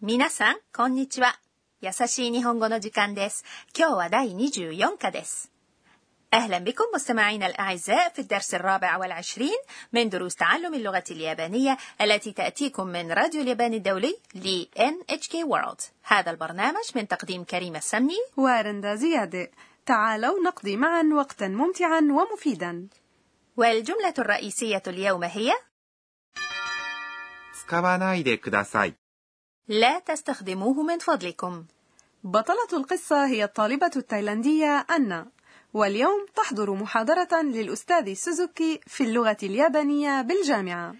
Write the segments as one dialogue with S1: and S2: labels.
S1: 皆さん、こんにちは。優しい日本語の時間です。今日は第24課です。أهلا بكم مستمعينا الأعزاء في الدرس الرابع والعشرين من دروس تعلم اللغة اليابانية التي تأتيكم من راديو اليابان الدولي ل NHK World هذا البرنامج من تقديم كريم السمني
S2: ورندا زيادة تعالوا نقضي معا وقتا ممتعا ومفيدا
S1: والجملة الرئيسية اليوم هي
S3: 使わないでください。
S1: لا تستخدموه من فضلكم
S2: بطلة القصة هي الطالبة التايلاندية أنا واليوم تحضر محاضرة للأستاذ سوزوكي في اللغة اليابانية بالجامعة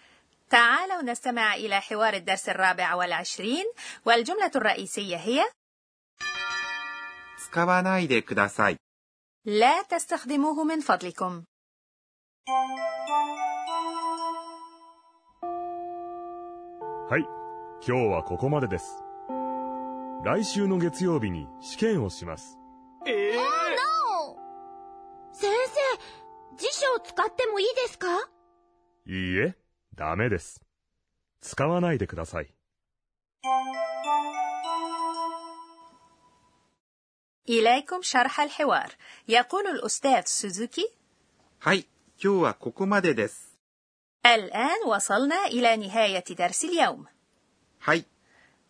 S1: تعالوا نستمع إلى حوار الدرس الرابع والعشرين والجملة الرئيسية هي
S3: 使わないでください。
S1: لا تستخدموه من فضلكم
S4: はい、今日はここまでです。来週の月曜日に試験をします。
S5: ええ Oh no!
S6: 先生、辞書を使ってもいいですか
S4: いいえ、ダメです。使わないでください。
S1: إليكم شرح الحوار يقول الأستاذ سوزوكي
S3: はい、今日はここまでです。
S1: الآن وصلنا إلى نهاية درس اليوم.
S3: はい。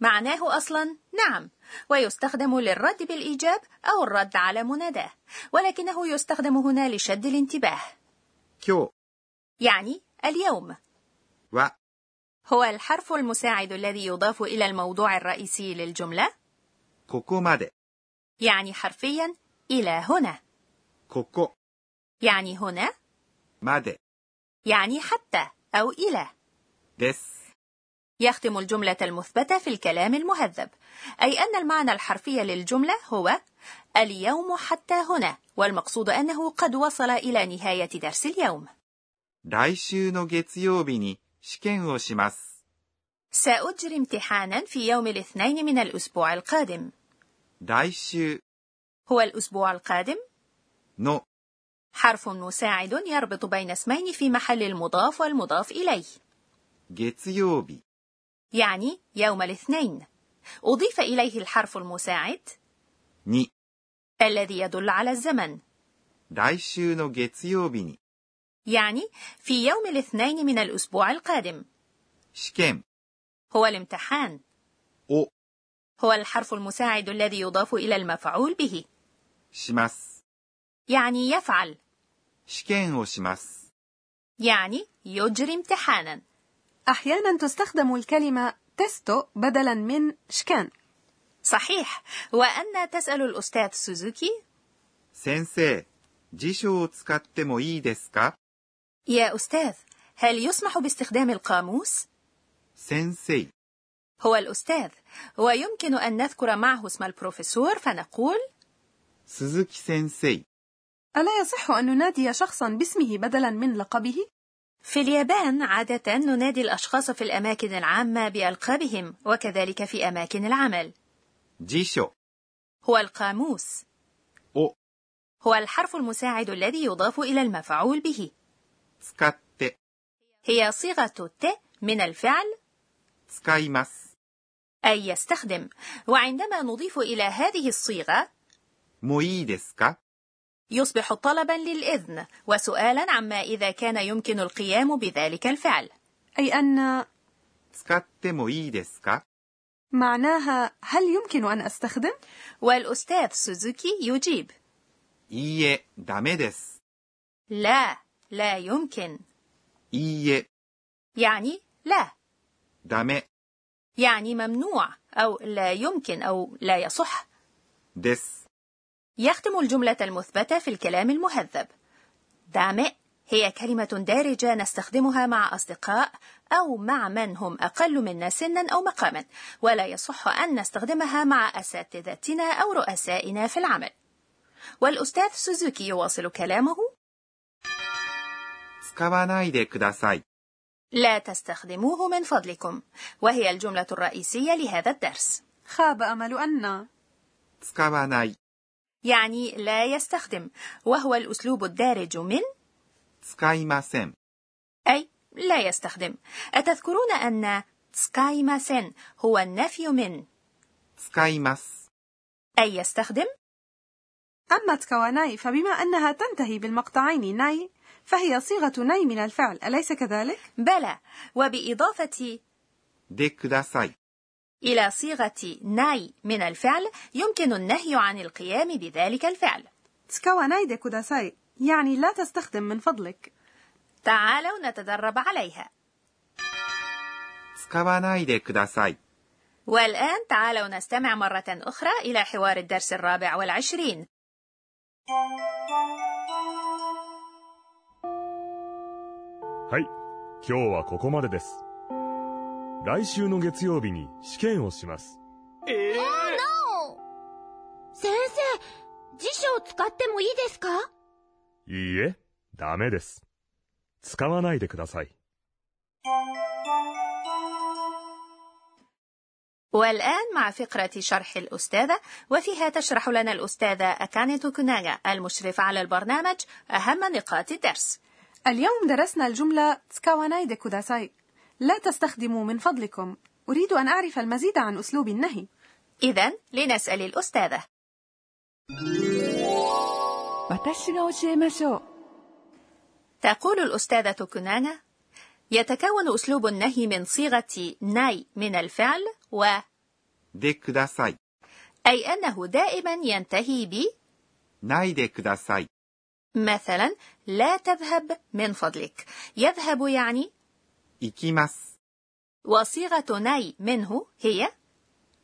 S1: معناه أصلا نعم ويستخدم للرد بالإيجاب أو الرد على مناداه ولكنه يستخدم هنا لشد الانتباه
S3: 今日
S1: يعني اليوم
S3: は
S1: هو الحرف المساعد الذي يضاف إلى الموضوع الرئيسي للجملة
S3: ここまで
S1: يعني حرفيا إلى هنا
S3: ここ
S1: يعني هنا
S3: まで
S1: يعني حتى أو إلى
S3: です
S1: يختم الجملة المثبتة في الكلام المهذب، أي أن المعنى الحرفي للجملة هو اليوم حتى هنا، والمقصود أنه قد وصل إلى نهاية درس اليوم.
S3: 来週の月曜日に試験をします。
S1: سأجري امتحانا في يوم الاثنين من الأسبوع القادم.
S3: 来週
S1: هو الأسبوع القادم
S3: の
S1: حرف مساعد يربط بين اسمين في محل المضاف والمضاف إليه.
S3: 月曜日
S1: يعني يوم الاثنين أضيف إليه الحرف المساعد
S3: に
S1: الذي يدل على الزمن
S3: 来週の月曜日に
S1: يعني في يوم الاثنين من الأسبوع القادم
S3: 試験
S1: هو الامتحان
S3: を
S1: هو الحرف المساعد الذي يضاف إلى المفعول به
S3: します
S1: يعني يفعل
S3: 試験をします
S1: يعني يجري امتحانا
S2: أحيانا تستخدم الكلمة تستو بدلا من شكان
S1: صحيح وأن تسأل الأستاذ سوزوكي
S3: 先生、辞書を使ってもいいですか
S1: يا أستاذ هل يسمح باستخدام القاموس؟
S3: 先生
S1: هو الأستاذ ويمكن أن نذكر معه اسم البروفيسور فنقول
S3: 鈴木先生
S2: ألا يصح أن ننادي شخصا باسمه بدلا من لقبه؟
S1: في اليابان عادة ننادي الأشخاص في الأماكن العامة بألقابهم وكذلك في أماكن العمل.
S3: 辞書
S1: هو القاموس.
S3: を
S1: هو الحرف المساعد الذي يضاف إلى المفعول به.
S3: 使って
S1: هي صيغة ت من الفعل
S3: 使います
S1: أي يستخدم وعندما نضيف إلى هذه الصيغة
S3: もういいですか
S1: يصبح طلبا للإذن وسؤالا عما إذا كان يمكن القيام بذلك الفعل
S2: أي أن
S3: 使ってもいいですか
S2: معناها هل يمكن أن أستخدم؟
S1: والأستاذ سوزوكي يجيب
S3: いいえ、ダメです。
S1: لا لا يمكن
S3: いいえ、
S1: يعني لا
S3: ダメ
S1: يعني ممنوع أو لا يمكن أو لا يصح
S3: です。
S1: يختم الجملة المثبتة في الكلام المهذب. دامي هي كلمة دارجة نستخدمها مع أصدقاء أو مع من هم أقل منا سنا أو مقاما، ولا يصح أن نستخدمها مع أساتذتنا أو رؤسائنا في العمل. والأستاذ سوزوكي يواصل كلامه:
S3: 使わないでください。
S1: لا تستخدموه من فضلكم، وهي الجملة الرئيسية لهذا الدرس.
S2: خاب أمل أن
S3: 使わない
S1: يعني لا يستخدم وهو الأسلوب الدارج من
S3: 使いません
S1: أي لا يستخدم أتذكرون أن 使いません هو النفي من
S3: 使います。
S1: أي يستخدم
S2: أما تكواناي فبما أنها تنتهي بالمقطعين ناي فهي صيغة ناي من الفعل أليس كذلك؟
S1: بلى وبإضافة
S3: でください。
S1: إلى صيغة ناي من الفعل يمكن النهي عن القيام بذلك الفعل
S2: تكواناي دي كوداساي يعني لا تستخدم من فضلك
S1: تعالوا نتدرب عليها
S3: 使わないでください。
S1: والآن تعالوا نستمع مرة أخرى إلى حوار الدرس الرابع والعشرين
S4: はい、今日はここまでです。来週の月曜日に試験をします。
S6: 先生、辞書を使ってもいいですか
S4: いいえ、ダメです。使わないでください。
S1: والآن مع فقرة شرح الأستاذة وفيها تشرح لنا الأستاذة أكاني توكوناغا المشرفة على البرنامج أهم نقاط الدرس
S2: اليوم درسنا الجملة تسكاواناي دي كوداساي لا تستخدموا من فضلكم أريد أن أعرف المزيد عن أسلوب النهي
S1: إذا لنسأل الأستاذة
S7: 私が教えましょう
S1: تقول الأستاذة توكوناغا يتكون أسلوب النهي من صيغة ناي من الفعل و
S3: でください。
S1: أي أنه دائما ينتهي ب
S3: ないでください。
S1: مثلا لا تذهب من فضلك يذهب يعني
S3: 行きます。
S1: وصيغة ناي منه هي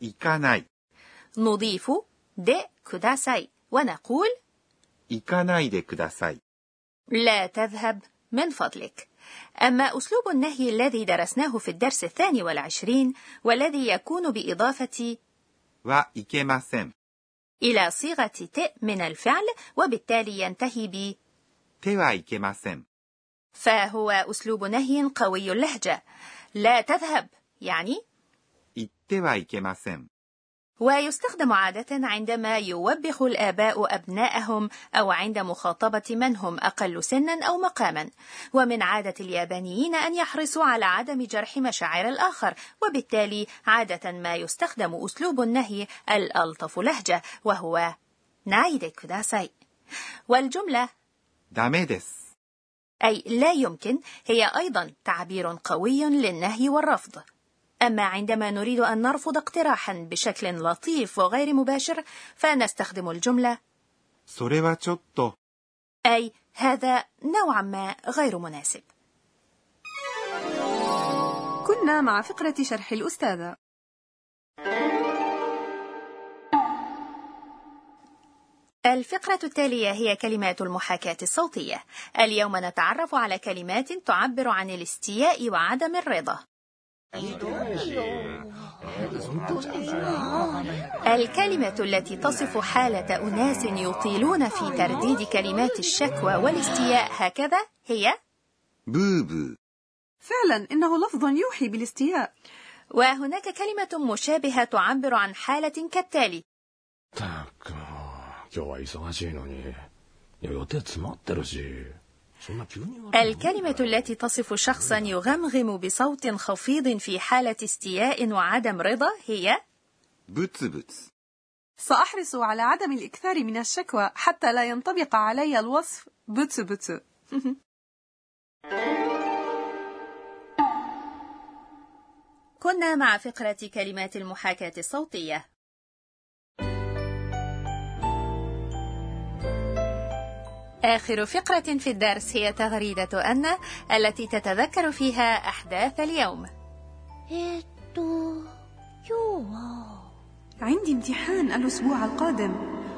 S3: 行かない。
S1: نضيف د كوداساي ونقول
S3: 行かないでください。
S1: لا تذهب من فضلك أما أسلوب النهي الذي درسناه في الدرس الثاني والعشرين والذي يكون بإضافة
S3: はいけません。
S1: إلى صيغة ت من الفعل وبالتالي ينتهي ب
S3: 手はいけません。
S1: فهو أسلوب نهي قوي اللهجة لا تذهب يعني
S3: 行ってはいけません。
S1: ويستخدم عادة عندما يوبخ الآباء أبنائهم أو عند مخاطبة من هم أقل سنا أو مقاما ومن عادة اليابانيين أن يحرصوا على عدم جرح مشاعر الآخر وبالتالي عادة ما يستخدم أسلوب النهي الألطف لهجة وهو نايدي كوداساي والجملة
S3: ダメです。
S1: أي لا يمكن هي أيضا تعبير قوي للنهي والرفض أما عندما نريد أن نرفض اقتراحا بشكل لطيف وغير مباشر فنستخدم الجملة
S3: それはちょっと。
S1: أي هذا نوعا ما غير مناسب
S2: كنا مع فقرة شرح الأستاذة
S1: الفقرة التالية هي كلمات المحاكاة الصوتية اليوم نتعرف على كلمات تعبر عن الاستياء وعدم الرضا الكلمة التي تصف حالة أناس يطيلون في ترديد كلمات الشكوى والاستياء هكذا هي
S3: ブーブー。
S2: فعلا إنه لفظ يوحي بالاستياء
S1: وهناك كلمة مشابهة تعبر عن حالة كالتالي
S8: ったくもう今日は忙しいのにいや予定詰まってるしそんな急に言われても
S1: الكلمة التي تصف شخصا يغمغم بصوت خفيض في حالة استياء وعدم رضا هي
S3: ブツブツ。
S2: سأحرص على عدم الإكثار من الشكوى حتى لا ينطبق علي الوصف بوتسو بوتسو
S1: كنا مع فقرة كلمات المحاكاة الصوتية آخر فقرة في الدرس هي تغريدة أن التي تتذكر فيها أحداث اليوم
S6: えーっと、今日は、
S2: عندي امتحان الأسبوع القادم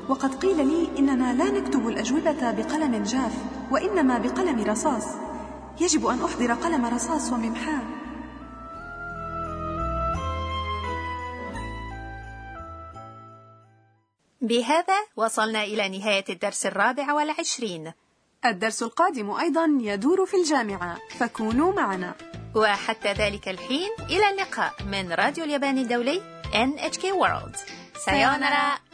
S2: وقد قيل لي إننا لا نكتب الأجوبة بقلم جاف وإنما بقلم رصاص يجب أن أحضر قلم رصاص وممحاه
S1: بهذا وصلنا إلى نهاية الدرس الرابع والعشرين
S2: الدرس القادم أيضا يدور في الجامعة فكونوا معنا
S1: وحتى ذلك الحين إلى اللقاء من راديو اليابان الدولي NHK World さようなら